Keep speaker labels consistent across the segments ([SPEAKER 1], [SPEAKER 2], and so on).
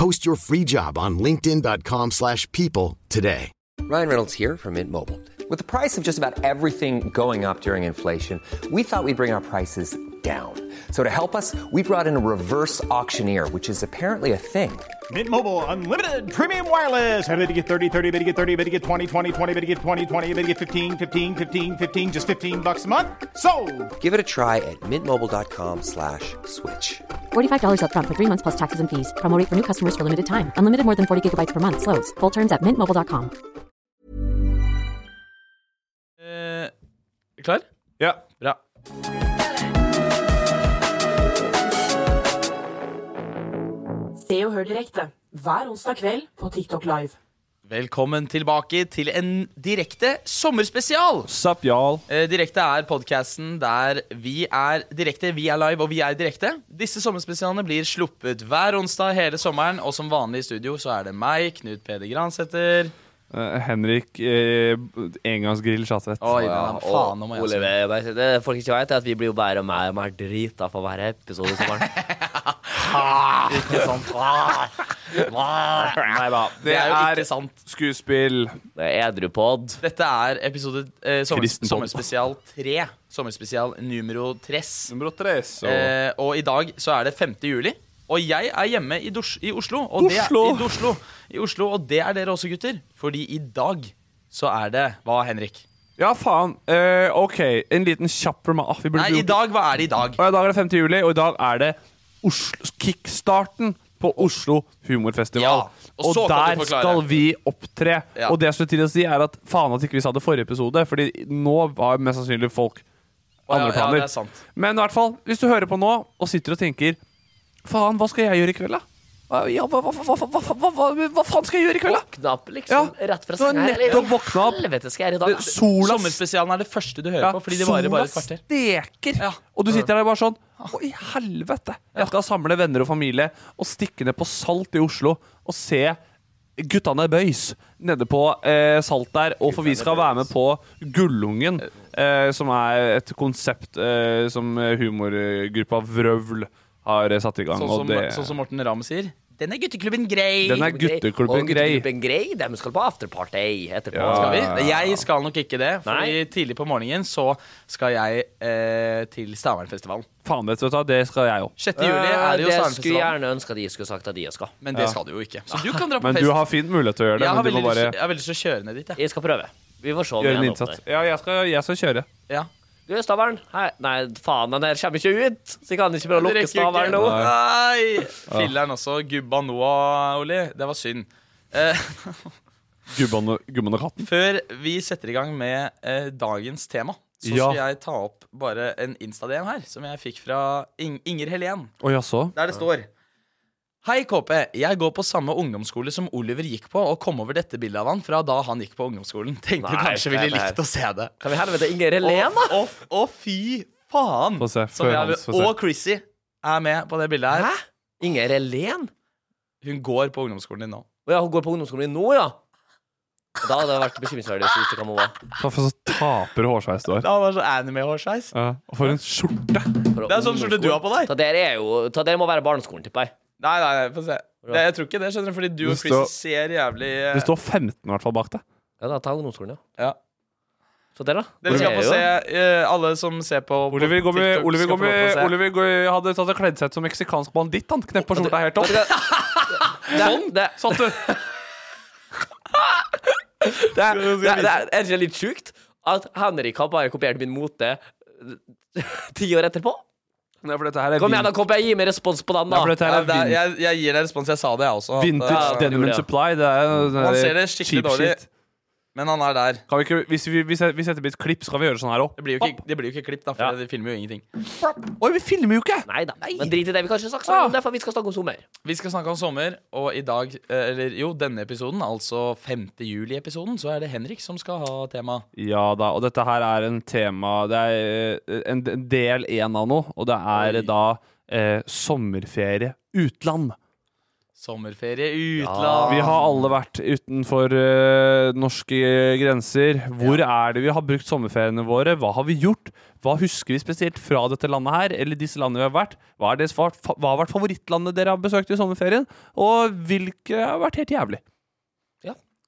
[SPEAKER 1] Post your free job on linkedin.com/people slash people today.
[SPEAKER 2] Ryan Reynolds here from Mint Mobile. With the price of just about everything going up during inflation, we thought we'd bring our prices down. So to help us, we brought in a reverse auctioneer, which is apparently a thing.
[SPEAKER 3] Mint Mobile unlimited premium wireless. Ready to get 30, 30, bit to get 30, bit to get 20, 20, 20, bit to get 20, 20, bit to get 15, 15, 15, 15 just 15 bucks a month. So,
[SPEAKER 2] Give it a try at mintmobile.com slash switch.
[SPEAKER 4] $45 upfront for three months plus taxes and fees. Promo rate for new customers for limited time. Unlimited more than 40 gigabytes per month. Slows. Full terms at mintmobile.com.
[SPEAKER 5] Eh, klar?
[SPEAKER 3] ja.
[SPEAKER 5] Bra.
[SPEAKER 6] Se og hør direkte hver onsdag kveld på TikTok Live.
[SPEAKER 5] Velkommen tilbake til en direkte sommerspesial.
[SPEAKER 7] Sup, y'all.
[SPEAKER 5] Eh, Direkte er podkasten der vi er direkte, vi er live og vi er direkte. Disse sommerspesialene blir sluppet hver onsdag hele sommeren, og som vanlig i studio så er det meg, Knut Peder Gransæter.
[SPEAKER 7] Eh, Henrik eh, Engangsgrill Sjatseth.
[SPEAKER 5] Oi, ja, faen, nå må jeg også-
[SPEAKER 8] Oliver, bare si det folk ikke vet, er at vi blir jo bare mer og mer drita for hver episode i sommeren.
[SPEAKER 5] Ikke sant.
[SPEAKER 8] Nei da.
[SPEAKER 5] Det
[SPEAKER 7] Det
[SPEAKER 5] er jo
[SPEAKER 7] er-
[SPEAKER 5] ikke sant.
[SPEAKER 7] Skuespill.
[SPEAKER 8] Det er edrupod.
[SPEAKER 5] Dette er episode eh, sommer,
[SPEAKER 7] Kristen podd.
[SPEAKER 5] sommerspesial tre. Sommerspesial numero tres.
[SPEAKER 7] Nummer tres. og-
[SPEAKER 5] Eh, og i dag så er det 5. juli. Og jeg er hjemme i, Dors i Oslo. Og Det er,
[SPEAKER 7] Oslo!
[SPEAKER 5] i, Oslo, I Oslo. Og det er dere også, gutter. Fordi i dag så er det Hva, Henrik?
[SPEAKER 7] Ja, faen. Eh, OK, en liten kjapp rema- ah, vi burde
[SPEAKER 5] Nei, i
[SPEAKER 7] gjort-
[SPEAKER 5] dag, hva er det i dag?
[SPEAKER 7] Og I dag er det 5. juli, og i dag er det Oslo, kickstarten på Oslo humorfestival.
[SPEAKER 5] Ja, og
[SPEAKER 7] og
[SPEAKER 5] så kan du
[SPEAKER 7] der
[SPEAKER 5] forklare.
[SPEAKER 7] skal vi opptre.
[SPEAKER 5] Ja.
[SPEAKER 7] Og det jeg skulle til å si, er at faen at ikke vi sa det forrige episode, Fordi nå var mest sannsynlig folk
[SPEAKER 5] ja,
[SPEAKER 7] andre
[SPEAKER 5] ja,
[SPEAKER 7] planer.
[SPEAKER 5] det er sant.
[SPEAKER 7] Men i hvert fall, hvis du hører på nå og sitter og tenker Faen, hva skal jeg gjøre i kveld, da? Hva- Ja, hva, hva, hva, hva, hva, hva, hva, hva faen skal jeg gjøre i kveld, da?
[SPEAKER 8] Våkna opp liksom
[SPEAKER 7] Ja,
[SPEAKER 8] rett fra
[SPEAKER 7] du har
[SPEAKER 8] senga. her, eller
[SPEAKER 7] nettopp
[SPEAKER 8] hva i
[SPEAKER 7] våkna opp.
[SPEAKER 8] Helvete skal jeg gjøre i
[SPEAKER 7] Det-
[SPEAKER 8] dag.
[SPEAKER 7] Sola,
[SPEAKER 5] Sommerspesialen er det første du hører
[SPEAKER 7] ja,
[SPEAKER 5] på. Fordi det varer
[SPEAKER 7] sola
[SPEAKER 5] bare et kvarter.
[SPEAKER 7] steker,
[SPEAKER 5] Ja.
[SPEAKER 7] og du sitter der bare sånn Å, i helvete! Jeg skal samle venner og familie og stikke ned på Salt i Oslo og se Guttane Bøys nede på eh, Salt der. Og for vi skal være med på Gullungen, eh, som er et konsept eh, som humorgruppa Vrøvl har eh, satt i gang.
[SPEAKER 5] Sånn
[SPEAKER 7] og
[SPEAKER 5] som,
[SPEAKER 7] det-
[SPEAKER 5] sånn som Morten Ramm sier. Den er gutteklubben grei!
[SPEAKER 7] Den er gutteklubben grei.
[SPEAKER 8] Gutteklubben grei. Dem skal på afterparty etterpå.
[SPEAKER 7] Ja.
[SPEAKER 5] Skal vi? Jeg skal nok ikke det. Fordi
[SPEAKER 8] Nei.
[SPEAKER 5] tidlig på morgenen så skal jeg eh, til Stavernfestivalen.
[SPEAKER 7] Faen vet du hva, det skal jeg òg.
[SPEAKER 5] 6. juli er det jo
[SPEAKER 8] jeg Eh, skulle
[SPEAKER 5] Stavernfestivalen.
[SPEAKER 8] gjerne ønske at de skulle sagt at de skal.
[SPEAKER 5] Men det skal du jo ikke. Så du kan dra på
[SPEAKER 7] Men
[SPEAKER 5] fest.
[SPEAKER 7] du har fint mulighet til å gjøre det.
[SPEAKER 5] jeg, har
[SPEAKER 7] Men du
[SPEAKER 5] veldig
[SPEAKER 7] må bare
[SPEAKER 5] lyst, jeg har veldig lyst til å kjøre ned dit. Jeg.
[SPEAKER 8] Jeg skal prøve. Vi får se om
[SPEAKER 7] gjøre en
[SPEAKER 8] jeg når på
[SPEAKER 7] innsats.
[SPEAKER 8] det.
[SPEAKER 7] Ja, jeg skal, jeg skal kjøre.
[SPEAKER 5] Ja.
[SPEAKER 8] Du, Stavern. Hei. Nei, faen, den her kommer ikke ut. Så jeg kan ikke prøve å
[SPEAKER 5] Det
[SPEAKER 8] lukke
[SPEAKER 5] rekker jo
[SPEAKER 8] Stavern nå.
[SPEAKER 5] ikke. Nei! Filler'n også. Gubba Noah, Oli. Det var synd. Eh,
[SPEAKER 7] Gubban og, gubban og katten.
[SPEAKER 5] før vi setter i gang med eh, dagens tema, så
[SPEAKER 7] Ja.
[SPEAKER 5] skal jeg ta opp bare en Insta-DM her, som jeg fikk fra Ing Inger Helen.
[SPEAKER 7] Å jaså?
[SPEAKER 5] Der det står Hei, KP. Jeg går på samme ungdomsskole som Oliver gikk på, og kom over dette bildet av han fra da han gikk på ungdomsskolen. Tenkte
[SPEAKER 8] Nei,
[SPEAKER 5] kanskje ville
[SPEAKER 8] nei, nei.
[SPEAKER 5] likt å se det.
[SPEAKER 8] Kan vi helvete Inger Helen, da?
[SPEAKER 5] Å, å, å, fy faen!
[SPEAKER 7] Få se,
[SPEAKER 5] Som
[SPEAKER 7] før
[SPEAKER 5] jeg-
[SPEAKER 7] hans, få se.
[SPEAKER 5] og Chrissy er med på det bildet her.
[SPEAKER 8] Hæ? Inger Helen?
[SPEAKER 5] Hun går på ungdomsskolen din nå.
[SPEAKER 8] Å ja, hun går på ungdomsskolen din nå, ja? Da hadde det vært bekymringsverdig. hvis du visste hvem hun var.
[SPEAKER 7] Faen, for så taper hårsveis du har.
[SPEAKER 5] Da var det så anime-hårsveis.
[SPEAKER 7] Ja, og for en skjorte!
[SPEAKER 8] For
[SPEAKER 5] Det er sånn skjorte du har på deg.
[SPEAKER 8] Ta der er jo, ta der må være barneskolen, tipper jeg.
[SPEAKER 5] Nei, nei, nei, få se.
[SPEAKER 4] Det, jeg tror ikke det, skjønner du, fordi du
[SPEAKER 7] Det
[SPEAKER 4] og Chris
[SPEAKER 7] står-
[SPEAKER 4] ser jævlig eh,
[SPEAKER 7] Det står 15 i hvert fall bak deg.
[SPEAKER 5] Ja, da ta ungdomsskolen, ja.
[SPEAKER 4] ja.
[SPEAKER 5] Så der, da.
[SPEAKER 4] Dere skal
[SPEAKER 5] Det
[SPEAKER 4] få
[SPEAKER 5] er jo-
[SPEAKER 4] se, eh, alle som ser på på
[SPEAKER 7] Oliver, går med,
[SPEAKER 4] TikTok,
[SPEAKER 7] Oliver, går
[SPEAKER 4] skal få lov til å
[SPEAKER 7] med,
[SPEAKER 4] se.
[SPEAKER 7] Oliver går, hadde tatt og kledd seg ut som meksikansk banditt. Han knepp på skjorta helt opp.
[SPEAKER 5] Sånn! Det,
[SPEAKER 7] Satt du
[SPEAKER 5] det, er- det, er- det er egentlig litt sjukt at Henrik har bare kopiert min mote eh, ti år etterpå.
[SPEAKER 7] Nei, for dette her er
[SPEAKER 5] Kom igjen, da,
[SPEAKER 7] vin-
[SPEAKER 5] Kopp. Jeg gir meg respons på den,
[SPEAKER 7] Nei,
[SPEAKER 5] da.
[SPEAKER 7] for dette
[SPEAKER 4] ja,
[SPEAKER 7] her er
[SPEAKER 4] det, er-
[SPEAKER 7] vin-
[SPEAKER 4] jeg, jeg gir deg respons. Jeg sa det, jeg også. at,
[SPEAKER 7] vintage
[SPEAKER 4] eh,
[SPEAKER 7] denim and
[SPEAKER 5] ja.
[SPEAKER 7] supply. Det er, det er
[SPEAKER 4] Han ser det skikkelig
[SPEAKER 7] cheap
[SPEAKER 4] dårlig.
[SPEAKER 7] shit.
[SPEAKER 4] Men han er der.
[SPEAKER 7] Kan vi ikke, hvis vi, hvis jeg- hvis jeg setter på et klipp, så kan vi gjøre sånn her òg.
[SPEAKER 4] Det blir jo ikke, det blir jo ikke klipp, da, for
[SPEAKER 7] Ja.
[SPEAKER 4] de filmer jo ingenting.
[SPEAKER 7] Oi, vi filmer jo ikke!
[SPEAKER 5] Nei da. Men drit i det. Vi kan ikke snakke sammen om det, for vi skal snakke om sommer.
[SPEAKER 4] Ah. Vi skal snakke om sommer, og i dag, eh, eller jo, denne episoden, altså 5. juli-episoden, så er det Henrik som skal ha tema.
[SPEAKER 7] Ja da, og dette her er en tema Det er eh, en en del én av noe, og det er
[SPEAKER 4] Oi.
[SPEAKER 7] da eh, sommerferie utland.
[SPEAKER 4] Sommerferie utland.
[SPEAKER 7] Vi har alle vært utenfor eh, norske grenser. Hvor er det vi har brukt sommerferiene våre? Hva har vi gjort? Hva husker vi spesielt fra dette landet her, eller disse landene vi har vært? Hva, er deres, fa- fa- hva har vært favorittlandet dere har besøkt i sommerferien? Og hvilke har vært helt jævlig?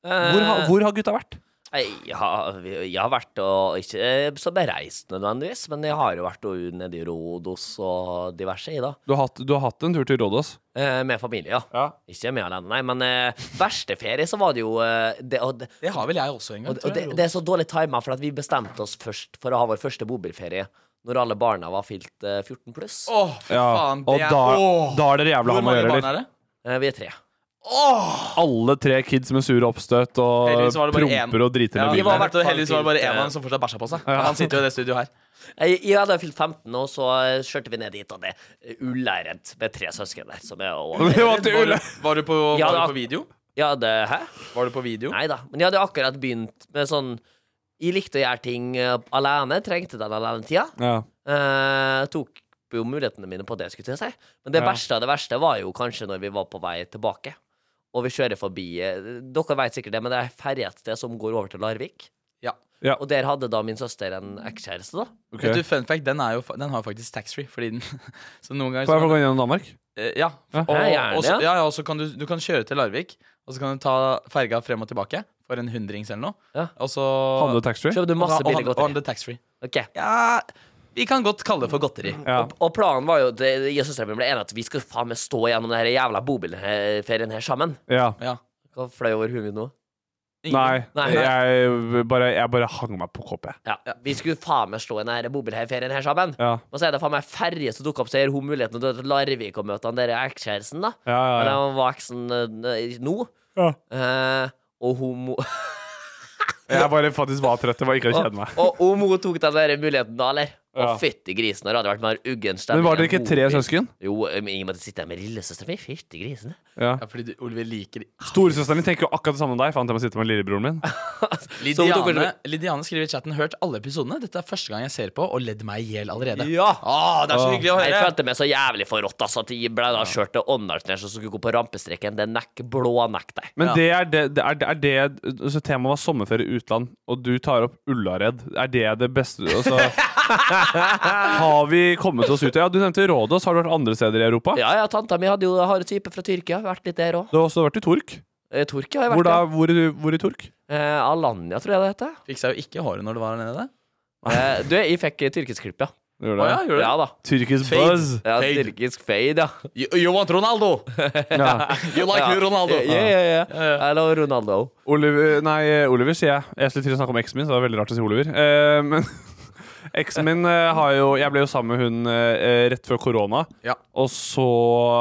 [SPEAKER 7] Hvor, har- hvor har gutta vært?
[SPEAKER 5] Nei, Jeg har, jeg har vært og ikke eh, så bereist nødvendigvis, men jeg har jo vært og nede i Rodos og diverse i da.
[SPEAKER 7] Du har hatt, du har hatt en tur til Rådås.
[SPEAKER 5] Eh, Med familie, ja.
[SPEAKER 7] Ja.
[SPEAKER 5] Ikke med alene, nei. Men eh, verste ferie, så var det jo eh, det, og, det,
[SPEAKER 4] Det har vel jeg også en gang.
[SPEAKER 5] og,
[SPEAKER 4] tror
[SPEAKER 5] og det,
[SPEAKER 4] jeg.
[SPEAKER 5] det er så dårlig tima, for at vi bestemte oss først for å ha vår første bobilferie når alle barna var fylt eh, 14 pluss.
[SPEAKER 4] Åh, fy faen. Det
[SPEAKER 7] og da,
[SPEAKER 4] er Åh.
[SPEAKER 7] da er dere jævla
[SPEAKER 4] Hvor
[SPEAKER 7] ham å
[SPEAKER 4] mange
[SPEAKER 7] gjøre,
[SPEAKER 4] barn
[SPEAKER 7] eller?
[SPEAKER 4] er det?
[SPEAKER 5] Eh, Vi er tre.
[SPEAKER 7] Alle tre kids med sure oppstøt og
[SPEAKER 4] Heldigvis var det bare en.
[SPEAKER 7] promper og driter
[SPEAKER 4] Ja,
[SPEAKER 7] med
[SPEAKER 5] vi
[SPEAKER 7] bilen.
[SPEAKER 5] var-
[SPEAKER 4] jeg vet, og heldigvis var det bare en
[SPEAKER 5] Ja.
[SPEAKER 4] av dem som fortsatt bæsja på seg. Han sitter jo i det studioet her.
[SPEAKER 5] Jeg, jeg hadde fylt 15, og så eh, kjørte vi ned dit, og det er ulæret med tre søsken der. Som er over.
[SPEAKER 7] Det var til
[SPEAKER 4] Var,
[SPEAKER 7] Ulle.
[SPEAKER 4] du- var, du på,
[SPEAKER 5] Ja,
[SPEAKER 4] var
[SPEAKER 5] da-
[SPEAKER 4] du på video?
[SPEAKER 5] Ja, det, hæ?
[SPEAKER 4] Var du på video?
[SPEAKER 5] Nei da. Men jeg hadde akkurat begynt med sånn Jeg likte å gjøre ting eh, alene. Trengte den alenetida.
[SPEAKER 7] Ja.
[SPEAKER 5] Eh, tok jo mulighetene mine på det, skulle jeg til å si. Men det
[SPEAKER 7] Ja.
[SPEAKER 5] verste av det verste var jo kanskje når vi var på vei tilbake. Og vi kjører forbi eh, Dere vet sikkert det, men det er ferje et sted som går over til Larvik.
[SPEAKER 4] Ja.
[SPEAKER 7] Ja.
[SPEAKER 5] Og der hadde da min søster en ekskjæreste, da.
[SPEAKER 7] ok.
[SPEAKER 4] Vet du, fun fact, den, er jo, fa- den har jo faktisk taxfree. Fordi den Så noen ganger
[SPEAKER 7] Får jeg
[SPEAKER 4] så,
[SPEAKER 7] få gå gjennom Danmark?
[SPEAKER 4] Eh, Ja.
[SPEAKER 7] Ja.
[SPEAKER 4] Og,
[SPEAKER 5] Ja, gjerne,
[SPEAKER 4] og så,
[SPEAKER 5] ja.
[SPEAKER 4] ja, ja, og så kan du, du kan kjøre til Larvik, og så kan du ta ferga frem og tilbake for en hundrings eller noe.
[SPEAKER 5] Ja.
[SPEAKER 4] Og så
[SPEAKER 7] Hadde du taxfree?
[SPEAKER 5] Kjøpte du masse
[SPEAKER 4] og, han-
[SPEAKER 5] billig
[SPEAKER 4] og handle
[SPEAKER 5] godteri.
[SPEAKER 4] taxfree.
[SPEAKER 5] Ok.
[SPEAKER 4] Ja, vi kan godt kalle det for godteri.
[SPEAKER 7] Ja.
[SPEAKER 5] Og planen var jo eh, det, Jeg og søsteren min ble enige at vi skulle faen meg stå gjennom denne jævla bobilferien her sammen.
[SPEAKER 7] ja.
[SPEAKER 4] Ja.
[SPEAKER 5] Hva fløy over huet mitt nå?
[SPEAKER 4] Ingen-
[SPEAKER 7] Nei,
[SPEAKER 5] Nei.
[SPEAKER 7] Jeg, bare, jeg bare hang meg på koppet.
[SPEAKER 5] Ja. Vi skulle faen meg slå i denne bobilferien her sammen.
[SPEAKER 7] Ja.
[SPEAKER 5] Og så er det faen meg ferje som dukker opp, så gir hun muligheten til å dra til Larvik og møte han der ekskjæresten, da.
[SPEAKER 7] Ja, ja, ja.
[SPEAKER 5] Eller han var eksen eh, nå.
[SPEAKER 7] Ja.
[SPEAKER 5] Eh, og hun mo-
[SPEAKER 7] Jeg bare faktisk var trøtt. Jeg var ikke kjenne meg.
[SPEAKER 5] Og om hun tok den der muligheten da, eller? Å,
[SPEAKER 7] Ja.
[SPEAKER 5] fytti grisen, når det hadde vært mer uggen stemning
[SPEAKER 7] Men var
[SPEAKER 5] enn
[SPEAKER 7] dere ikke tre
[SPEAKER 5] bobil.
[SPEAKER 7] søsken?
[SPEAKER 5] Jo, eh, men i og med at jeg sitter her med lillesøsteren min. Fytti grisen.
[SPEAKER 7] Ja.
[SPEAKER 4] Ja, fordi du, Oliver liker
[SPEAKER 7] Storesøsteren min tenker jo akkurat det samme om deg. Fant jeg må sitte med lillebroren min.
[SPEAKER 4] Lidiane, Lidiane skriver i chatten 'hørt alle episodene'. Dette er første gang jeg ser på, og ledd meg i hjel allerede.
[SPEAKER 5] Ja!
[SPEAKER 4] Å, det er så
[SPEAKER 7] Åh.
[SPEAKER 4] hyggelig å
[SPEAKER 5] Jeg
[SPEAKER 4] høre.
[SPEAKER 5] følte meg så jævlig forrådt altså, at jeg ble da kjørt til Åndalsnes og skulle gå på rampestreken. Det er nekk, blå nekk deg.
[SPEAKER 7] Men det er det, det, er, det, er det altså, Temaet var sommerferie i utland, og du tar opp Ullared. Er det det beste altså, Har vi kommet oss ut? Ja, Du nevnte Rådås. Har du vært andre steder i Europa?
[SPEAKER 5] Ja, ja, tanta mi hadde jo harde type fra Tyrkia. Vært litt der òg.
[SPEAKER 7] Du har også vært i Tork.
[SPEAKER 5] Eh, Tyrkia har jeg
[SPEAKER 7] Hvor,
[SPEAKER 5] vært.
[SPEAKER 7] da,
[SPEAKER 5] ja.
[SPEAKER 7] hvor, hvor i Tork?
[SPEAKER 5] Eh, Alanya, tror jeg det heter.
[SPEAKER 4] Fikk seg jo ikke håret når du var her nede. der.
[SPEAKER 5] Eh, du, jeg fikk eh, tyrkisk klipp, ja.
[SPEAKER 7] Gjorde
[SPEAKER 4] Å, ja, gjorde du det?
[SPEAKER 5] Ja da.
[SPEAKER 7] Tyrkisk
[SPEAKER 4] Fade.
[SPEAKER 7] buzz.
[SPEAKER 5] Ja,
[SPEAKER 4] Fade.
[SPEAKER 5] Tyrkisk fade, ja.
[SPEAKER 4] You, you want Ronaldo?
[SPEAKER 7] Ja.
[SPEAKER 4] You like me,
[SPEAKER 5] Ja.
[SPEAKER 4] Ronaldo?
[SPEAKER 5] Ja, ja, ja. ja. Eller Ronaldo.
[SPEAKER 7] Oliver, nei, Oliver sier jeg. Jeg skulle til å snakke om eksen min, så det var veldig rart å si Oliver. Eh, men eksen min eh, har jo Jeg ble jo sammen med hun eh, rett før korona.
[SPEAKER 4] Ja.
[SPEAKER 7] Og så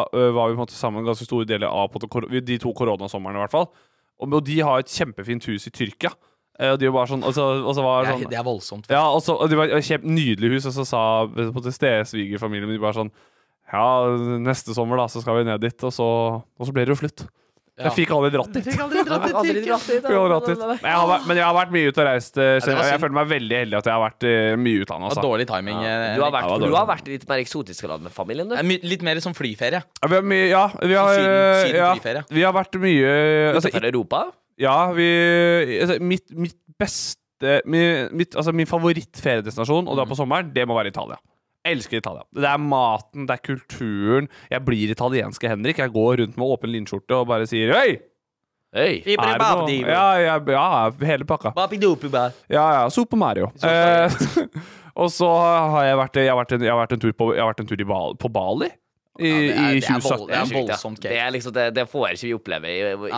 [SPEAKER 7] eh, var vi på en måte sammen ganske store deler av på en måte kor- de to koronasomrene, i hvert fall. Og, og de har et kjempefint hus i Tyrkia. Eh, og de var sånn, og så, og så var
[SPEAKER 4] Det
[SPEAKER 7] sånn
[SPEAKER 4] er, det er voldsomt.
[SPEAKER 7] Ja, og så, og det var et kjempe nydelig hus, og så sa på en måte ste- svigerfamilien min bare sånn Ja, neste sommer, da, så skal vi ned dit. Og så, og så ble det jo slutt.
[SPEAKER 4] Ja.
[SPEAKER 7] Jeg fikk aldri dratt dit.
[SPEAKER 5] Aldri dratt dit,
[SPEAKER 7] Vi
[SPEAKER 5] ja.
[SPEAKER 7] har hatt litt. Men jeg har vært, men jeg har vært mye ute og reist. eh,
[SPEAKER 4] det var
[SPEAKER 7] generelt. Jeg
[SPEAKER 4] synd.
[SPEAKER 7] føler meg veldig heldig at jeg har vært eh, mye i utlandet.
[SPEAKER 4] Det var
[SPEAKER 7] Altså.
[SPEAKER 4] dårlig timing. eh,
[SPEAKER 5] Du har
[SPEAKER 4] Henrik.
[SPEAKER 5] vært, du har vært i litt mer eksotiske land med familien,
[SPEAKER 4] Det
[SPEAKER 5] du.
[SPEAKER 4] er my- Litt mer som flyferie.
[SPEAKER 7] Vi har, mye, ja, vi har,
[SPEAKER 4] siden-
[SPEAKER 7] eh,
[SPEAKER 4] siden
[SPEAKER 7] ja,
[SPEAKER 4] friferie.
[SPEAKER 7] vi har vært mye altså,
[SPEAKER 5] Utenfor Europa.
[SPEAKER 7] Ja, vi altså, mitt, mitt beste mi- mitt, altså, Min favorittferiedestinasjon å dra på sommeren, det må være Italia. Jeg elsker Italia. Det er maten, det er kulturen. Jeg blir italienske Henrik. Jeg går rundt med åpen linskjorte og bare sier Hei!
[SPEAKER 8] Hei.
[SPEAKER 7] Er det noe? Ja, ja, ja, hele pakka. Ja, ja. Super Mario. Eh, og så har jeg vært, jeg har vært, en, jeg har vært en tur, på, jeg har vært en tur i Bal på Bali i, i
[SPEAKER 5] det er vold-
[SPEAKER 7] 2017.
[SPEAKER 5] det er voldsomt
[SPEAKER 8] Det, er liksom, det, det får ikke vi oppleve i,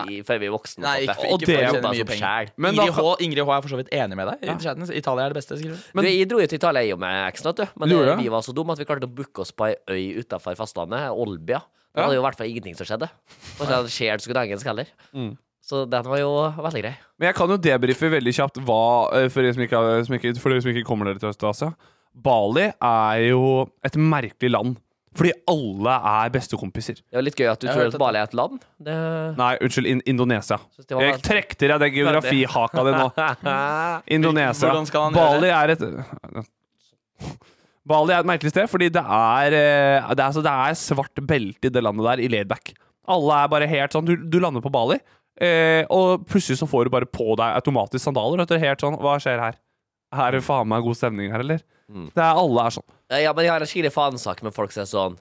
[SPEAKER 8] i, før vi er voksne.
[SPEAKER 5] Nei, ikke,
[SPEAKER 8] på en måte.
[SPEAKER 5] ikke
[SPEAKER 7] Og det
[SPEAKER 5] for
[SPEAKER 7] er
[SPEAKER 5] å
[SPEAKER 7] jo
[SPEAKER 5] tjene
[SPEAKER 8] bare
[SPEAKER 5] mye
[SPEAKER 8] som
[SPEAKER 5] penger.
[SPEAKER 8] skjær.
[SPEAKER 7] Men
[SPEAKER 5] Ingrid
[SPEAKER 7] da-
[SPEAKER 5] H, Ingrid H er for så vidt enig med deg. i chatten. Italia er det beste. skriver du.
[SPEAKER 8] du, jeg dro jo til Italia, jeg og meg, ikke sant? du? Men
[SPEAKER 7] Du
[SPEAKER 8] det,
[SPEAKER 7] gjorde det?
[SPEAKER 8] vi var så dumme at vi klarte å booke oss på ei øy utafor fastlandet, Olbia. Da
[SPEAKER 7] Ja.
[SPEAKER 8] hadde jo i hvert fall ingenting som skjedde. Og så skjer det skulle engelsk heller.
[SPEAKER 5] Mm.
[SPEAKER 8] Så den var jo veldig grei.
[SPEAKER 7] Men jeg kan jo debrife veldig kjapt hva, eh, for, dere som ikke, har- som ikke, for dere som ikke kommer dere til Øst-Asia. Bali er jo et merkelig land, fordi alle er bestekompiser.
[SPEAKER 8] Det var litt gøy at du
[SPEAKER 5] Jeg
[SPEAKER 8] tror
[SPEAKER 5] hørte
[SPEAKER 8] at Bali er et land. Det...
[SPEAKER 7] Nei, unnskyld, in Indonesia.
[SPEAKER 8] Synes det var-
[SPEAKER 7] Jeg trekk til deg den geografihaka di nå. Indonesia.
[SPEAKER 5] Hvordan skal han
[SPEAKER 7] Bali er et Bali er et merkelig sted, fordi det er, eh, det er, altså, det er svart belte i det landet der, i laidback. Alle er bare helt sånn Du, du lander på Bali, eh, og plutselig så får du bare på deg automatisk sandaler. Og det er helt sånn Hva skjer her? Er det faen meg god stemning her, eller? Det er, alle er sånn.
[SPEAKER 8] Ja, men jeg har en skikkelig faensak med folk som er sånn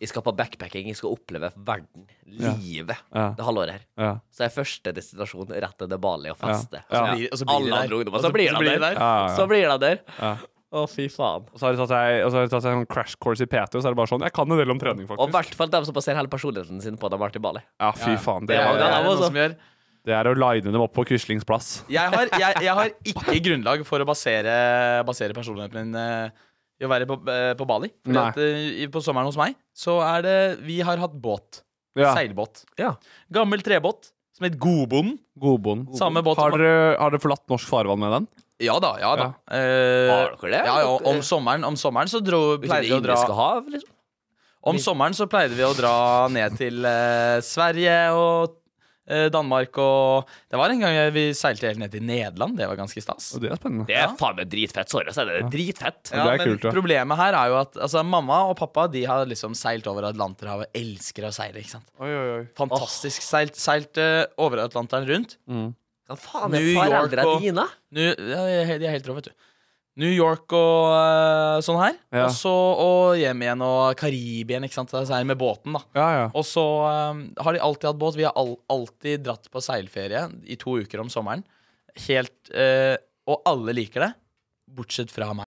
[SPEAKER 8] Jeg skal på backpacking, jeg skal oppleve verden, livet,
[SPEAKER 7] Ja.
[SPEAKER 8] det halvåret her.
[SPEAKER 7] Ja.
[SPEAKER 8] Så er første destinasjon rett til det Bali og feste.
[SPEAKER 7] Ja.
[SPEAKER 8] Så
[SPEAKER 5] blir- og så blir det
[SPEAKER 8] Alle
[SPEAKER 5] der.
[SPEAKER 8] andre ungdommer.
[SPEAKER 5] Og så-
[SPEAKER 8] Så blir
[SPEAKER 5] så
[SPEAKER 8] det
[SPEAKER 5] blir det
[SPEAKER 8] der.
[SPEAKER 5] der.
[SPEAKER 7] Ja, ja, ja.
[SPEAKER 8] Så blir det der. Å, fy faen.
[SPEAKER 7] Og så har de tatt seg, og så har de tatt seg en sånn crash course i PT, og så er det bare sånn Jeg kan en del om trening,
[SPEAKER 8] Og i
[SPEAKER 7] faktisk.
[SPEAKER 8] hvert fall dem som baserer hele personligheten sin på at de har vært i Bali.
[SPEAKER 7] Ja, fy faen.
[SPEAKER 8] Det
[SPEAKER 7] Det
[SPEAKER 8] var-
[SPEAKER 7] er,
[SPEAKER 5] Det er
[SPEAKER 8] Ja,
[SPEAKER 5] noe
[SPEAKER 8] altså.
[SPEAKER 5] som gjør
[SPEAKER 7] det er å line dem opp på Quislings plass.
[SPEAKER 5] jeg har, jeg, jeg har ikke grunnlag for å basere, basere personligheten min eh, i å være på, eh, på Bali. Fordi
[SPEAKER 7] Nei.
[SPEAKER 5] at, eh, i- på sommeren hos meg så er det Vi har hatt båt.
[SPEAKER 7] Ja.
[SPEAKER 5] Seilbåt.
[SPEAKER 8] Ja.
[SPEAKER 5] Gammel trebåt som het Godbonden.
[SPEAKER 7] Godbonden.
[SPEAKER 5] Samme båt.
[SPEAKER 7] Har dere, har dere forlatt norsk farvann med den?
[SPEAKER 5] Ja da, ja da. Eh,
[SPEAKER 8] Har dere det?
[SPEAKER 5] ja, ja, om sommeren, om sommeren så dro,
[SPEAKER 8] Ute i
[SPEAKER 5] pleide
[SPEAKER 8] det
[SPEAKER 5] vi å dra
[SPEAKER 8] indiske hav, liksom.
[SPEAKER 5] Om sommeren så pleide vi å dra ned til eh, Sverige og eh, Danmark og Det var en gang vi seilte helt ned til Nederland. Det var ganske stas.
[SPEAKER 7] Og det er spennende.
[SPEAKER 8] Det er faen meg dritfett. Sorry, så er det dritfett.
[SPEAKER 7] Ja. det er kult, ja.
[SPEAKER 5] Problemet her er jo at altså, mamma og pappa De har liksom seilt over Atlanterhavet. Elsker å seile. ikke sant?
[SPEAKER 7] Oi, oi, oi.
[SPEAKER 5] Fantastisk seilt, seilt eh, over Atlanteren rundt.
[SPEAKER 7] Mm.
[SPEAKER 8] Hva faen er
[SPEAKER 5] New York
[SPEAKER 8] foreldra
[SPEAKER 5] og-
[SPEAKER 8] dine?
[SPEAKER 5] Nu, ja, de er helt- de er helt rå, vet du. New York og eh, sånn her.
[SPEAKER 7] Ja.
[SPEAKER 5] Og så og hjem igjen og Karibien, ikke sant. Seil med båten, da.
[SPEAKER 7] Ja, ja.
[SPEAKER 5] Og så eh, har de alltid hatt båt. Vi har all, alltid dratt på seilferie i to uker om sommeren. Helt eh, Og alle liker det. Bortsett fra meg.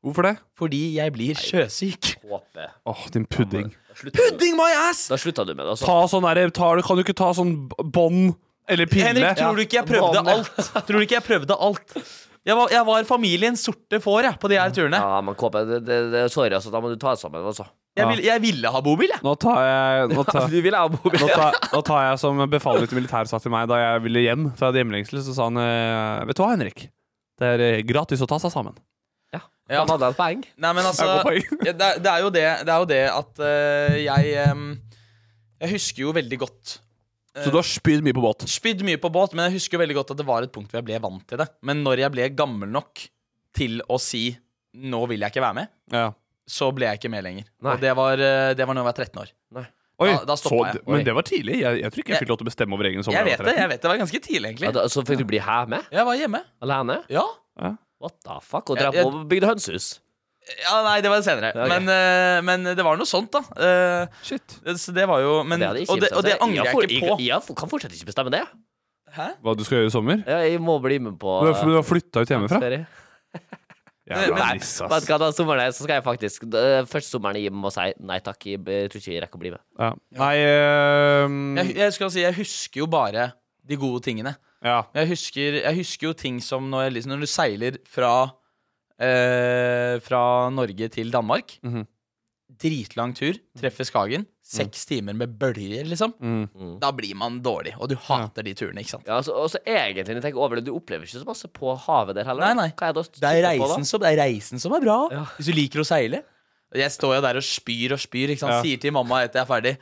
[SPEAKER 7] Hvorfor det?
[SPEAKER 5] Fordi jeg blir sjøsyk.
[SPEAKER 8] Håpe.
[SPEAKER 7] Åh, din pudding.
[SPEAKER 8] Da slutta du-
[SPEAKER 5] Pudding my ass!
[SPEAKER 8] da slutta du med det, altså.
[SPEAKER 7] Ta sånn derre ta- Kan du ikke ta sånn b- bånd eller pille?
[SPEAKER 5] Henrik, tror du
[SPEAKER 7] Ja.
[SPEAKER 5] ikke jeg prøvde
[SPEAKER 8] Vanlig.
[SPEAKER 5] alt? Tror du ikke jeg prøvde alt? Jeg var, jeg var familiens sorte får jeg, på de her turene.
[SPEAKER 8] Ja, men Kåpe, det, det, det, er sorry, altså. Da må du ta det sammen, altså.
[SPEAKER 5] Jeg, vil, jeg ville ha bobil, jeg.
[SPEAKER 7] Nå tar jeg Nå tar,
[SPEAKER 8] Du Altså, vil ha mobil?
[SPEAKER 7] nå tar, nå tar jeg som befalet til militæret sa til meg da jeg ville hjem, for jeg hadde hjemlengsel, så sa han eh, Vet du hva, Henrik? Det er eh, gratis å ta seg sammen.
[SPEAKER 8] Han hadde et poeng.
[SPEAKER 5] Nei, men altså
[SPEAKER 7] Jeg går poeng.
[SPEAKER 5] ja, det, er- det, er jo det, det er jo det at eh, jeg em, Jeg husker jo veldig godt
[SPEAKER 7] Så du har spydd mye på båt?
[SPEAKER 5] Spydd mye på båt, men jeg husker jo veldig godt at det var et punkt hvor jeg ble vant til det. Men når jeg ble gammel nok til å si 'nå vil jeg ikke være med', så ble jeg ikke med lenger.
[SPEAKER 7] Nei.
[SPEAKER 5] Og det var, eh, det var når jeg var 13 år.
[SPEAKER 7] Oi,
[SPEAKER 5] da, da
[SPEAKER 7] så
[SPEAKER 5] stoppa jeg.
[SPEAKER 7] d- Men det var tidlig. Jeg, jeg tror ikke jeg
[SPEAKER 5] Jeg-
[SPEAKER 7] fikk lov til å bestemme over egen sommer.
[SPEAKER 5] Jeg vet det, jeg vet det var ganske tidlig, egentlig.
[SPEAKER 8] Ja, da, så fikk du bli her med?
[SPEAKER 5] Jeg var hjemme.
[SPEAKER 8] Alene?
[SPEAKER 5] Ja.
[SPEAKER 7] Ja.
[SPEAKER 8] What the fuck? Og
[SPEAKER 5] Jeg-
[SPEAKER 8] dra på og bygde hønsehus?
[SPEAKER 5] Ja, nei, det var senere.
[SPEAKER 8] Ja, ok.
[SPEAKER 5] Men, eh, men det var noe sånt, da. Eh,
[SPEAKER 7] Shit.
[SPEAKER 5] det- Så det var jo men,
[SPEAKER 8] Det hadde ikke
[SPEAKER 5] Og det,
[SPEAKER 8] bestemt
[SPEAKER 5] og det
[SPEAKER 8] seg.
[SPEAKER 5] angrer jeg
[SPEAKER 8] får-
[SPEAKER 5] ikke på.
[SPEAKER 8] Jeg, jeg kan fortsatt ikke bestemme det.
[SPEAKER 5] Hæ?
[SPEAKER 7] Hva du skal gjøre i sommer?
[SPEAKER 8] Ja, Jeg må bli med på
[SPEAKER 7] Du har, du har flytta ut hjemmefra?
[SPEAKER 8] ferie.
[SPEAKER 7] Jævla
[SPEAKER 8] Nei,
[SPEAKER 7] nisse,
[SPEAKER 8] vet
[SPEAKER 7] ass.
[SPEAKER 8] du hva, den sommeren her så skal jeg faktisk d- Første sommeren jeg må si nei takk, jeg b- tror ikke jeg rekker å bli med.
[SPEAKER 7] Ja. Nei eh,
[SPEAKER 5] Jeg, jeg, skal si, jeg husker jo bare de gode tingene.
[SPEAKER 7] Ja.
[SPEAKER 5] Jeg husker, jeg husker jo ting som når, jeg liksom, når du seiler fra, eh, fra Norge til Danmark.
[SPEAKER 7] Mhm.
[SPEAKER 5] Dritlang tur, treffer Skagen. Seks timer med bølger, liksom.
[SPEAKER 7] Mm.
[SPEAKER 5] Da blir man dårlig, og du hater de turene, ikke sant.
[SPEAKER 8] Ja, altså, og så egentlig, når jeg tenker over det, du opplever ikke så masse på havet der heller.
[SPEAKER 5] Nei, nei.
[SPEAKER 8] Hva er det, å
[SPEAKER 5] Det er
[SPEAKER 8] kikke på da?
[SPEAKER 5] reisen som, det er, reisen som er bra,
[SPEAKER 8] Ja.
[SPEAKER 5] hvis du liker å seile. Jeg står jo der og spyr og spyr, ikke sant?
[SPEAKER 7] Ja.
[SPEAKER 5] sier til mamma etter jeg er ferdig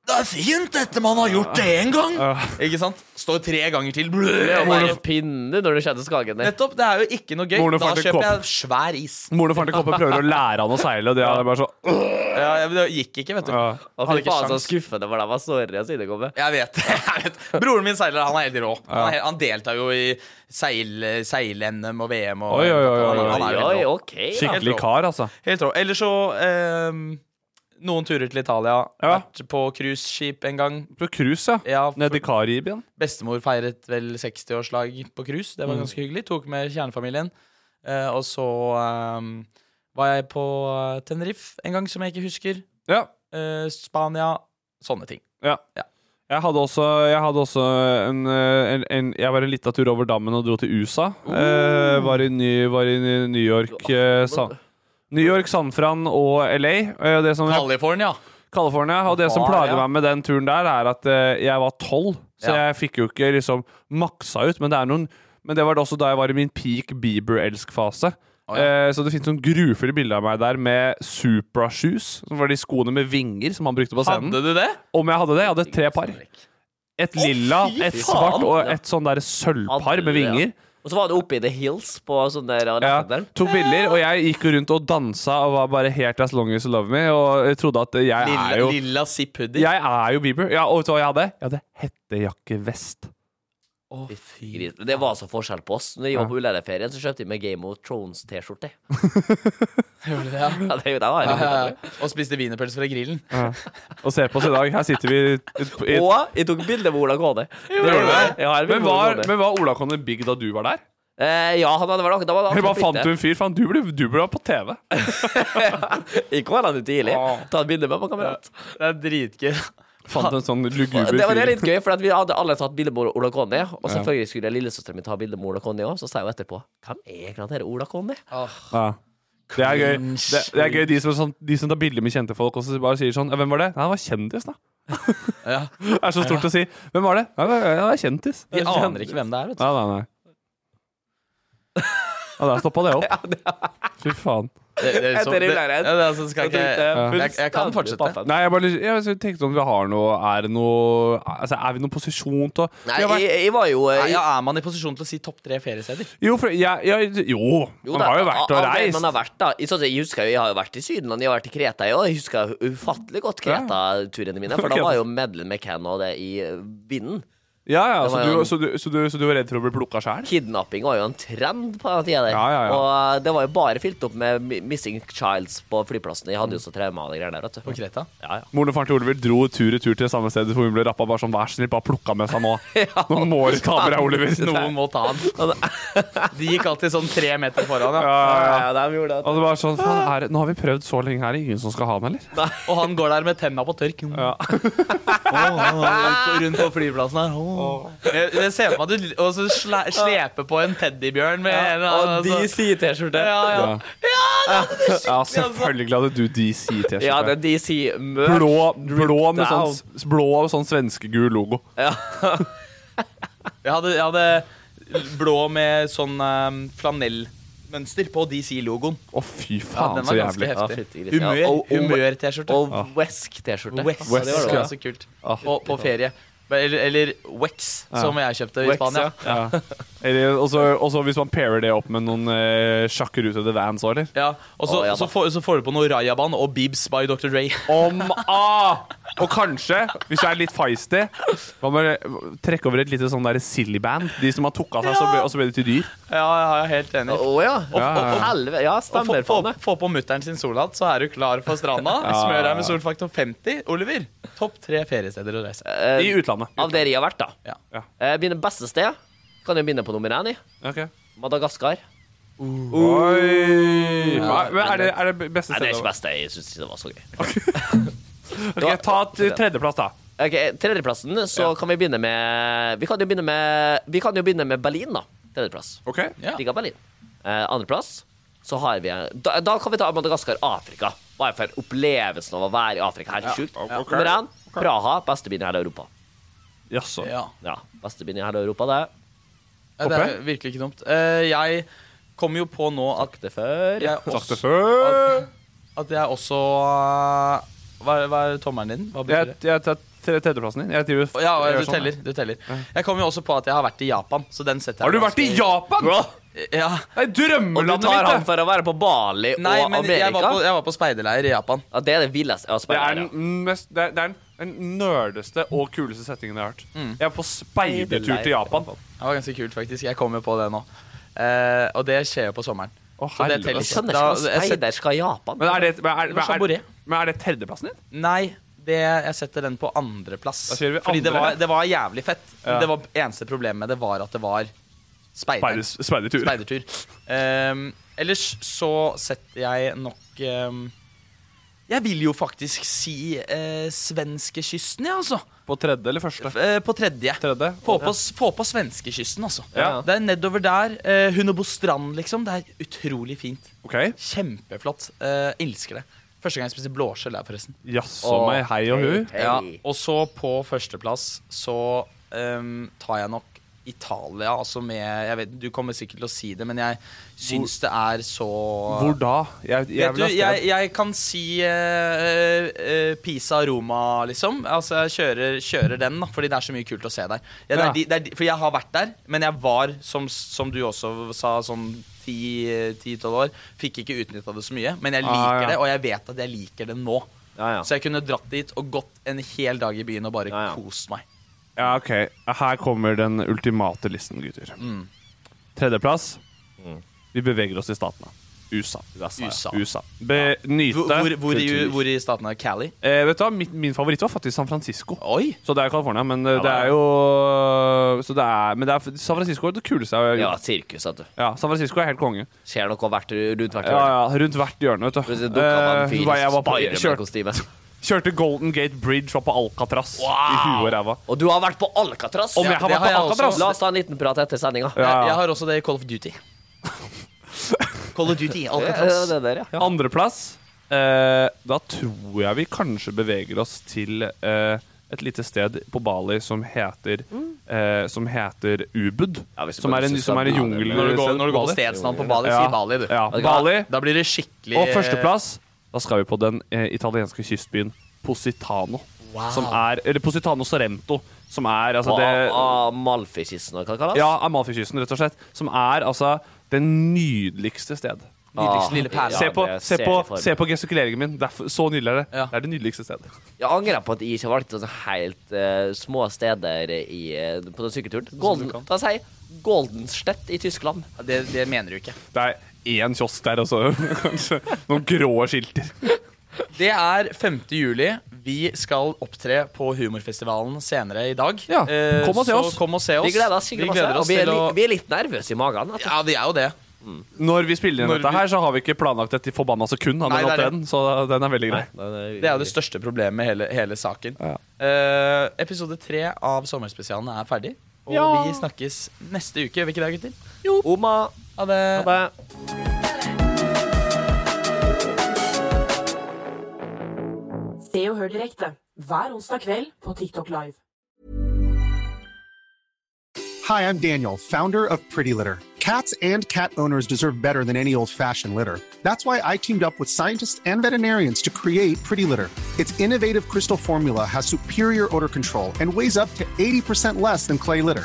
[SPEAKER 5] Det er fint, dette man har gjort det én gang! Ikke sant? Står tre ganger til.
[SPEAKER 8] Det er jo
[SPEAKER 5] Blø,
[SPEAKER 8] bare pinne når du kjenner skagen der.
[SPEAKER 5] Nettopp, Det er jo ikke noe gøy.
[SPEAKER 7] Moren og
[SPEAKER 5] Da
[SPEAKER 7] faren til
[SPEAKER 5] kjøper
[SPEAKER 7] Kopp.
[SPEAKER 5] jeg svær is.
[SPEAKER 7] Moren og faren til Koppe prøver å lære han å seile, og det er bare så
[SPEAKER 5] Ja, jeg- det gikk ikke, vet du.
[SPEAKER 7] Ja.
[SPEAKER 8] Og
[SPEAKER 5] Hadde
[SPEAKER 8] fy
[SPEAKER 5] ikke
[SPEAKER 8] faen så
[SPEAKER 5] sjans.
[SPEAKER 8] skuffende for dem. Sorry, jeg sier det kommer.
[SPEAKER 5] Jeg vet, jeg vet. Broren min seiler, han er helt rå. Han, er, helt- han deltar jo i seil, seil-NM og VM og
[SPEAKER 7] Oi, oi, oi, oi,
[SPEAKER 5] Han, han er jo
[SPEAKER 8] Oi,
[SPEAKER 5] helt rå.
[SPEAKER 8] OK. da.
[SPEAKER 7] Skikkelig kar, altså.
[SPEAKER 5] Helt rå. Eller så ehm, noen turer til Italia.
[SPEAKER 7] Ja.
[SPEAKER 5] Vært på cruiseskip en gang.
[SPEAKER 7] På cruise, ja.
[SPEAKER 5] Ja, for-
[SPEAKER 7] Nede i Karibien. Mm.
[SPEAKER 5] Bestemor feiret vel 60-årslag på cruise. Det var ganske hyggelig. Tok med kjernefamilien. Eh, og så ehm, var jeg på eh, Tenerife en gang, som jeg ikke husker.
[SPEAKER 7] Ja.
[SPEAKER 5] Eh, Spania. Sånne ting.
[SPEAKER 7] Ja.
[SPEAKER 5] Ja.
[SPEAKER 7] Jeg hadde også, jeg hadde også en, eh, en, en Jeg var en liten tur over dammen og dro til USA. Eh, var, i Ny, var i Ny- New York, eh, San, New York, San Fran og LA. Eh, det som jeg,
[SPEAKER 5] California.
[SPEAKER 7] California. Og det som
[SPEAKER 5] Var,
[SPEAKER 7] plager
[SPEAKER 5] ja.
[SPEAKER 7] meg med den turen der, er at eh, jeg var tolv. Så
[SPEAKER 5] Ja.
[SPEAKER 7] jeg fikk jo ikke liksom maksa ut. Men det er noen Men det var da også da jeg var i min peak Bieber-elsk-fase. Eh, så det finnes noen grufulle bilder av meg der med Supra-shoes, som var de skoene med vinger som han brukte på scenen.
[SPEAKER 5] Hadde du det?
[SPEAKER 7] Om jeg hadde det? Jeg hadde tre par. Et lilla,
[SPEAKER 5] fy
[SPEAKER 7] et
[SPEAKER 5] faen!
[SPEAKER 7] svart og et sånn der sølvpar
[SPEAKER 8] Alle,
[SPEAKER 7] med vinger.
[SPEAKER 8] ja. Og så var det oppe i The Hills på sånn der og
[SPEAKER 7] Ja,
[SPEAKER 8] nettet der.
[SPEAKER 7] tok bilder, og jeg gikk jo rundt og dansa og var bare helt as long as you love me. Og jeg trodde at jeg
[SPEAKER 5] Lilla,
[SPEAKER 7] er jo
[SPEAKER 5] lilla zip-hoodie.
[SPEAKER 7] Jeg er jo Bieber. Ja, og vet du hva jeg hadde? Jeg hadde hettejakkevest.
[SPEAKER 8] Fy gris. Det var så forskjell på oss. Når jeg var på ullærerferien, så kjøpte jeg meg Game of Thrones-T-skjorte.
[SPEAKER 5] Gjorde det, ja.
[SPEAKER 8] Ja, det, det var
[SPEAKER 5] Ja, ja, ja. Og spiste wienerpølse fra grillen.
[SPEAKER 7] Og se på oss i dag. Her sitter vi i- i
[SPEAKER 8] Og jeg tok bilde med Ola Kåne.
[SPEAKER 7] gjorde det.
[SPEAKER 8] Ja, jeg har
[SPEAKER 7] men
[SPEAKER 8] bilde med Ola
[SPEAKER 7] var,
[SPEAKER 8] Kåne.
[SPEAKER 7] men var Ola Conny big da du var der?
[SPEAKER 8] Eh, ja, han hadde vært akkurat da var det
[SPEAKER 7] Eller bare
[SPEAKER 8] akkurat
[SPEAKER 7] fant du en fyr? Faen, du burde du burde vært på TV.
[SPEAKER 8] bytte. Ikke var han ute tidlig.
[SPEAKER 7] Ah.
[SPEAKER 8] Ta et bilde med meg, kamerat.
[SPEAKER 5] Det er dritgøy.
[SPEAKER 7] Fant en sånn luguber
[SPEAKER 8] Det var det
[SPEAKER 7] fyr.
[SPEAKER 8] litt gøy, for at vi hadde alle tatt bilde med Ola Conny. Og selvfølgelig skulle lillesøsteren min ta bilde med Ola Conny òg, så sa jeg jo etterpå Hvem er egentlig han her Ola Conny?
[SPEAKER 7] Ja. Det er gøy, det, det er gøy de, som, er sånn, de som tar bilder med kjente folk og så bare sier sånn «Ja, 'Hvem var det?' «Nei, 'Han var kjendis', da.
[SPEAKER 5] Ja.
[SPEAKER 7] Det er så stort å si. 'Hvem var det?' «Nei, 'Han var, han var kjendis'.
[SPEAKER 5] Vi aner ikke hvem det er, vet du.
[SPEAKER 7] Nei, nei, nei. Ja, der stoppa det opp. Fy faen.
[SPEAKER 5] Det, det, er så-
[SPEAKER 8] Etter
[SPEAKER 5] det,
[SPEAKER 8] ulæren.
[SPEAKER 5] ja, det, altså, skal
[SPEAKER 8] Jeg
[SPEAKER 5] ikke,
[SPEAKER 8] tenkte,
[SPEAKER 5] jeg, jeg, jeg kan
[SPEAKER 8] fullstendig
[SPEAKER 5] fortsette.
[SPEAKER 8] paffen.
[SPEAKER 7] Nei, jeg bare lyst- jeg så tenkte om vi har noe Er det noe Altså, er vi i noen posisjon til å
[SPEAKER 8] Nei,
[SPEAKER 7] Vi har vært-
[SPEAKER 8] jeg, jeg var jo
[SPEAKER 5] Nei,
[SPEAKER 8] eh,
[SPEAKER 5] ja, er man i posisjon til å si topp tre feriesteder?
[SPEAKER 7] Jo, for jeg, jeg Jo, man
[SPEAKER 8] da,
[SPEAKER 7] har jo vært
[SPEAKER 8] av
[SPEAKER 7] og
[SPEAKER 8] det Man
[SPEAKER 7] reist.
[SPEAKER 8] har vært, da. I sånn- Jeg husker jo, jeg har jo vært i Sydenland, jeg har vært i Kreta, jeg òg. Jeg husker ufattelig godt Kreta-turene mine. For da
[SPEAKER 7] Kreta.
[SPEAKER 8] var jo Madeleine McCann og det i eh, vinden.
[SPEAKER 7] Ja, ja,
[SPEAKER 8] Det
[SPEAKER 7] så
[SPEAKER 8] var
[SPEAKER 7] du,
[SPEAKER 8] jo-
[SPEAKER 7] så, du, så, du, så du var redd for å bli plukka sjæl?
[SPEAKER 8] Kidnapping var jo en trend på den tida der.
[SPEAKER 7] Ja, ja, ja.
[SPEAKER 8] Og eh, det var jo bare fylt opp med mi- missing childs på flyplassene. eh, Jeg hadde jo så traumer av de greiene der, vet du.
[SPEAKER 5] På Kreta?
[SPEAKER 8] Ja, ja.
[SPEAKER 7] Moren og faren til Oliver dro tur i tur til det samme stedet hvor hun ble rappa. Bare sånn, vær snill, bare plukka med seg nå. Nå må du ta med deg Oliver.
[SPEAKER 5] Noen må ta den. De gikk alltid sånn tre meter foran,
[SPEAKER 7] Ja,
[SPEAKER 5] ja.
[SPEAKER 7] ja, ja.
[SPEAKER 8] de gjorde det.
[SPEAKER 7] Og det var sånn, faen, er, det- Nå har vi prøvd så lenge, er det ingen som skal ha den, eller?
[SPEAKER 5] Og han går der med tenna på tørk.
[SPEAKER 7] Ja.
[SPEAKER 5] rundt på flyplassen her. Jeg, jeg ser for meg at du og så sle, sleper på en teddybjørn med en eller annen
[SPEAKER 8] Og de
[SPEAKER 5] sånn-
[SPEAKER 8] sier T-skjorte.
[SPEAKER 5] ja, ja.
[SPEAKER 7] Ja.
[SPEAKER 5] ja, det er
[SPEAKER 7] ja,
[SPEAKER 5] skikkelig, altså.
[SPEAKER 7] selvfølgelig hadde du DC-T-skjorte.
[SPEAKER 8] Ja, det er de sier mø.
[SPEAKER 7] blå, blå med
[SPEAKER 8] down.
[SPEAKER 7] sånn, s- blå og sånn svenskegul logo.
[SPEAKER 5] Jeg hadde, jeg hadde blå med sånn um, flanellmønster på DC-logoen.
[SPEAKER 7] Å, fy
[SPEAKER 5] Ja,
[SPEAKER 7] faen,
[SPEAKER 5] den
[SPEAKER 7] så
[SPEAKER 5] var ganske
[SPEAKER 7] jævlig.
[SPEAKER 8] Ja,
[SPEAKER 5] heftig.
[SPEAKER 8] fytti grisen. Ja,
[SPEAKER 5] Humør-
[SPEAKER 8] og- og-
[SPEAKER 5] Humør-T-skjorte.
[SPEAKER 8] Og Wesk-T-skjorte.
[SPEAKER 5] West,
[SPEAKER 8] Ja, det var
[SPEAKER 5] det
[SPEAKER 8] det.
[SPEAKER 5] var så kult. På, på ferie. Eller, eller Wex,
[SPEAKER 7] Ja.
[SPEAKER 5] som jeg kjøpte i
[SPEAKER 7] Wex,
[SPEAKER 5] Spania.
[SPEAKER 7] ja. Ja. Eller- Og så og så hvis man pairer det opp med noen eh, sjakkerutede vans òg, eller?
[SPEAKER 5] Ja, og så,
[SPEAKER 7] Å, ja da.
[SPEAKER 5] så, får, så får du på noe Rayaban og Bibs by Dr. Dre.
[SPEAKER 7] Om A! Og kanskje, hvis du er litt feisty, hva med å trekke over et lite sånn der silly band? De som har tok av seg, så ble, og så ble de til dyr.
[SPEAKER 5] Ja, ja, jeg er helt enig.
[SPEAKER 8] Å ja.
[SPEAKER 5] Og,
[SPEAKER 7] Ja, ja,
[SPEAKER 5] og,
[SPEAKER 7] ja.
[SPEAKER 8] Helvete. Ja,
[SPEAKER 5] og få,
[SPEAKER 8] stemmer
[SPEAKER 5] få,
[SPEAKER 8] faen det.
[SPEAKER 5] få på mutter'n sin solhatt, så er du klar for stranda.
[SPEAKER 7] Ja.
[SPEAKER 5] Smør deg med solfaktor 50. Oliver, topp tre feriesteder å reise.
[SPEAKER 7] I utlandet.
[SPEAKER 8] Eh, Av der jeg har vært, da.
[SPEAKER 5] Ja.
[SPEAKER 8] Eh, Mine beste sted kan jeg begynne på nummer én i.
[SPEAKER 7] Ok.
[SPEAKER 8] Madagaskar.
[SPEAKER 7] Oi! Hva- men Er det, er det beste
[SPEAKER 8] Nei, det er
[SPEAKER 7] stedet?
[SPEAKER 8] ikke beste. Jeg syns ikke det var så gøy.
[SPEAKER 7] Ok, ta t- tredjeplass, da.
[SPEAKER 8] Ok, Tredjeplassen, så kan vi begynne med Vi kan jo begynne med, vi kan jo begynne med Berlin, da. Tredjeplass.
[SPEAKER 7] Ok?
[SPEAKER 5] Ja.
[SPEAKER 8] Digga Berlin. Eh, Andreplass, så har vi da, da kan vi ta Madagaskar, Afrika. Bare for opplevelsen av å være i Afrika. Helt sjukt.
[SPEAKER 7] ok.
[SPEAKER 8] Nummer én, Praha. Beste byen i hele Europa.
[SPEAKER 7] Jaså.
[SPEAKER 5] Ja.
[SPEAKER 8] Ja, beste byen i hele Europa, det.
[SPEAKER 5] Ja, Det er virkelig ikke dumt. Eh, jeg kom jo på nå at
[SPEAKER 8] Det før.
[SPEAKER 5] jeg
[SPEAKER 7] Sakte
[SPEAKER 5] også,
[SPEAKER 7] før
[SPEAKER 5] at jeg også eh, hva, er- hva er tommelen din? Hva betyr
[SPEAKER 7] Jeg
[SPEAKER 5] det?
[SPEAKER 7] jeg tar tre- tredjeplassen din. Jeg driver
[SPEAKER 5] Ja,
[SPEAKER 7] jeg
[SPEAKER 5] ja,
[SPEAKER 7] gjør
[SPEAKER 5] du
[SPEAKER 7] sånn,
[SPEAKER 5] teller.
[SPEAKER 7] jeg.
[SPEAKER 5] du teller Jeg kom jo også på at jeg har vært i Japan. Så den setter jeg
[SPEAKER 7] Har du vært i
[SPEAKER 5] ganske-
[SPEAKER 7] Japan?!
[SPEAKER 5] Ja.
[SPEAKER 7] Nei,
[SPEAKER 8] Og du
[SPEAKER 7] drømmelandet
[SPEAKER 8] tar han
[SPEAKER 7] mitt! det.
[SPEAKER 8] for å være på Bali
[SPEAKER 5] Nei,
[SPEAKER 8] og
[SPEAKER 5] men jeg var,
[SPEAKER 8] Amerika?
[SPEAKER 5] på, jeg var på speiderleir i Japan.
[SPEAKER 8] Ja, det er det villeste jeg har
[SPEAKER 7] Det er
[SPEAKER 8] spilt. ja.
[SPEAKER 7] den mest Det er, det er den den nerdeste og kuleste settingen jeg har hørt.
[SPEAKER 8] Mm.
[SPEAKER 7] Jeg er på speidertur til Japan.
[SPEAKER 5] Det var ganske kult, faktisk. Jeg kom jo på det nå. Eh, og det skjer jo på sommeren.
[SPEAKER 7] Å,
[SPEAKER 5] Så det
[SPEAKER 7] helvete.
[SPEAKER 5] teller
[SPEAKER 8] Jeg
[SPEAKER 5] ikke.
[SPEAKER 8] skjønner
[SPEAKER 5] Da-
[SPEAKER 8] ikke hva
[SPEAKER 5] jeg setter-
[SPEAKER 8] speider skal i Japan.
[SPEAKER 7] Men er det, men er,
[SPEAKER 5] Eller
[SPEAKER 7] men er,
[SPEAKER 5] Chaboré.
[SPEAKER 7] men er det tredjeplassen din?
[SPEAKER 5] Nei, det, jeg setter den på andreplass.
[SPEAKER 7] Da kjører vi
[SPEAKER 5] Fordi det
[SPEAKER 7] andre.
[SPEAKER 5] var, det var jævlig fett.
[SPEAKER 7] Ja.
[SPEAKER 5] Det var, eneste problemet med det var at det var speider,
[SPEAKER 7] Speidertur.
[SPEAKER 5] speidertur. Ehm, ellers så setter jeg nok ehm, Jeg vil jo faktisk si uh, svenskekysten, jeg, ja, altså.
[SPEAKER 7] På tredje eller første?
[SPEAKER 5] Eh, på tredje.
[SPEAKER 7] Tredje.
[SPEAKER 5] Få på, få på svenskekysten, altså.
[SPEAKER 7] Ja.
[SPEAKER 5] Det er nedover der. Uh, Hunebostrand, liksom. Det er utrolig fint.
[SPEAKER 7] OK.
[SPEAKER 5] Kjempeflott. Eh, elsker det. Første gang jeg spiste blåskjell der, forresten.
[SPEAKER 7] Jaså meg, hei og hu.
[SPEAKER 5] Ja, og så på førsteplass så ehm, tar jeg nok Italia, altså med jeg vet, Du kommer sikkert til å si det, men jeg syns det er så
[SPEAKER 7] Hvor da? Jeg, jeg
[SPEAKER 5] Vet du,
[SPEAKER 7] vil ha
[SPEAKER 5] jeg,
[SPEAKER 7] sted.
[SPEAKER 5] jeg kan si eh, eh, Pisa, Roma, liksom. Altså, jeg kjører, kjører den, da, fordi det er så mye kult å se der. Ja, det
[SPEAKER 7] Ja.
[SPEAKER 5] er, de- det er, de- for jeg har vært der, men jeg var, som, som du også sa, sånn 10-12 år. Fikk ikke utnytta det så mye, men jeg liker
[SPEAKER 7] Ah, ja.
[SPEAKER 5] det, og jeg vet at jeg liker det nå.
[SPEAKER 8] Ja, ja.
[SPEAKER 5] Så jeg kunne dratt dit og gått en hel dag i byen og bare
[SPEAKER 8] Ja, ja.
[SPEAKER 5] kost meg.
[SPEAKER 7] Ja, OK. Her kommer den ultimate listen, gutter. Tredjeplass. Vi beveger oss til statene. USA.
[SPEAKER 5] USA.
[SPEAKER 7] USA. Be nyte
[SPEAKER 5] Hvor, hvor, hvor, i,
[SPEAKER 7] kultur.
[SPEAKER 5] hvor i staten er Cali?
[SPEAKER 7] Eh, vet du hva, min, min favoritt var faktisk San Francisco.
[SPEAKER 5] Oi!
[SPEAKER 7] Så det er jo California, men eh, det
[SPEAKER 8] da, ja.
[SPEAKER 7] er jo så det er, Men det er, San Francisco er det kuleste jeg har
[SPEAKER 8] Ja,
[SPEAKER 7] gjort.
[SPEAKER 8] sirkus, vet du.
[SPEAKER 7] Ja, San Francisco er helt konge.
[SPEAKER 8] Ser noe hvert, rundt hvert
[SPEAKER 7] Ja,
[SPEAKER 8] hjørne.
[SPEAKER 7] ja, Rundt hvert hjørne, vet
[SPEAKER 8] Plutselig
[SPEAKER 7] du.
[SPEAKER 8] dukka det opp en
[SPEAKER 7] Eh,
[SPEAKER 8] fyr
[SPEAKER 7] hva
[SPEAKER 8] i
[SPEAKER 7] jeg var på, kjørte,
[SPEAKER 8] Spiderman-kostyme.
[SPEAKER 7] kjørte Golden Gate Bridge opp på Alcatraz i huet og ræva.
[SPEAKER 8] Og du har vært på Alcatraz!
[SPEAKER 7] Om jeg har
[SPEAKER 5] det
[SPEAKER 7] vært på
[SPEAKER 5] har jeg også.
[SPEAKER 7] Alcatraz?
[SPEAKER 8] La oss ta en liten prat etter sendinga.
[SPEAKER 7] Ja,
[SPEAKER 5] Jeg
[SPEAKER 7] ja.
[SPEAKER 5] har også det i Call of Duty. Call of Duty, Alcatraz.
[SPEAKER 8] Det der, ja.
[SPEAKER 7] Andreplass. Eh, da tror jeg vi kanskje beveger oss til eh, et lite sted på Bali som heter eh, Som heter Ubud.
[SPEAKER 8] Mm. Ja, hvis vi
[SPEAKER 7] som
[SPEAKER 8] bare
[SPEAKER 7] er en,
[SPEAKER 8] synes
[SPEAKER 7] som
[SPEAKER 8] det
[SPEAKER 7] er
[SPEAKER 8] er
[SPEAKER 7] en
[SPEAKER 8] bra,
[SPEAKER 7] jungel...
[SPEAKER 8] det
[SPEAKER 5] Når du går,
[SPEAKER 7] sted
[SPEAKER 5] når du går på stedsnavn på Bali,
[SPEAKER 7] Ja.
[SPEAKER 5] si Bali, du.
[SPEAKER 7] Ja,
[SPEAKER 5] Da-
[SPEAKER 7] Bali.
[SPEAKER 5] Da blir det skikkelig
[SPEAKER 8] Eh,
[SPEAKER 7] Og førsteplass, da skal vi på den eh, italienske kystbyen Positano. Som er, eller Positano Sorrento, som er altså det
[SPEAKER 8] Amalfi-kysten, hva kalles det?
[SPEAKER 7] Ja, Amalfikysten, rett og slett. Som er altså det nydeligste sted.
[SPEAKER 8] Ah.
[SPEAKER 5] Nydeligste eh, lille perle.
[SPEAKER 7] se, på,
[SPEAKER 8] det
[SPEAKER 7] se,
[SPEAKER 8] ser jeg for
[SPEAKER 7] på,
[SPEAKER 8] meg.
[SPEAKER 7] se på gestikuleringen min. Det er f- så nydelig er det.
[SPEAKER 5] Ja.
[SPEAKER 7] Det er det nydeligste stedet.
[SPEAKER 8] Jeg angrer på at jeg ikke valgte sånne helt eh, små steder i, eh, på den
[SPEAKER 5] Sånn
[SPEAKER 8] syketuren. Golden, da sier jeg Goldenstedt i Tyskland.
[SPEAKER 5] Ja, Det, det mener du ikke.
[SPEAKER 7] Det er én kiosk der også, kanskje. Noen grå skilter.
[SPEAKER 5] Det er 5. juli. Vi skal opptre på Humorfestivalen senere i dag.
[SPEAKER 7] Ja,
[SPEAKER 5] Eh,
[SPEAKER 7] kom og se
[SPEAKER 5] så
[SPEAKER 7] oss.
[SPEAKER 5] Kom og se oss.
[SPEAKER 8] Vi gleder oss skikkelig
[SPEAKER 5] Vi gleder
[SPEAKER 8] masse.
[SPEAKER 5] oss
[SPEAKER 8] Og vi er,
[SPEAKER 5] til å-
[SPEAKER 8] li- vi er litt nervøse i magen. altså. vet du.
[SPEAKER 5] Ja, vi er jo det.
[SPEAKER 7] Når vi spiller inn
[SPEAKER 5] Når
[SPEAKER 7] dette
[SPEAKER 5] vi-
[SPEAKER 7] her, så har vi ikke planlagt et forbanna sekund av
[SPEAKER 5] Nei,
[SPEAKER 7] den
[SPEAKER 5] det er det.
[SPEAKER 7] opptredenen, så den er veldig grei.
[SPEAKER 5] Det er jo det største problemet med hele, hele saken.
[SPEAKER 7] Ja.
[SPEAKER 5] Eh, episode tre av Sommerspesialene er ferdig. Og vi snakkes neste uke. Gjør vi ikke det, gutter?
[SPEAKER 8] Oma. eh,
[SPEAKER 5] Ha det.
[SPEAKER 8] Ha det.
[SPEAKER 6] Se og hør direkte hver onsdag kveld på TikTok Live.
[SPEAKER 1] Hi, I'm Daniel, founder of Pretty Litter. Cats and cat owners deserve better than any old fashioned litter. That's why I teamed up with scientists and veterinarians to create Pretty Litter. Its innovative crystal formula has superior odor control and weighs up to 80% less than clay litter.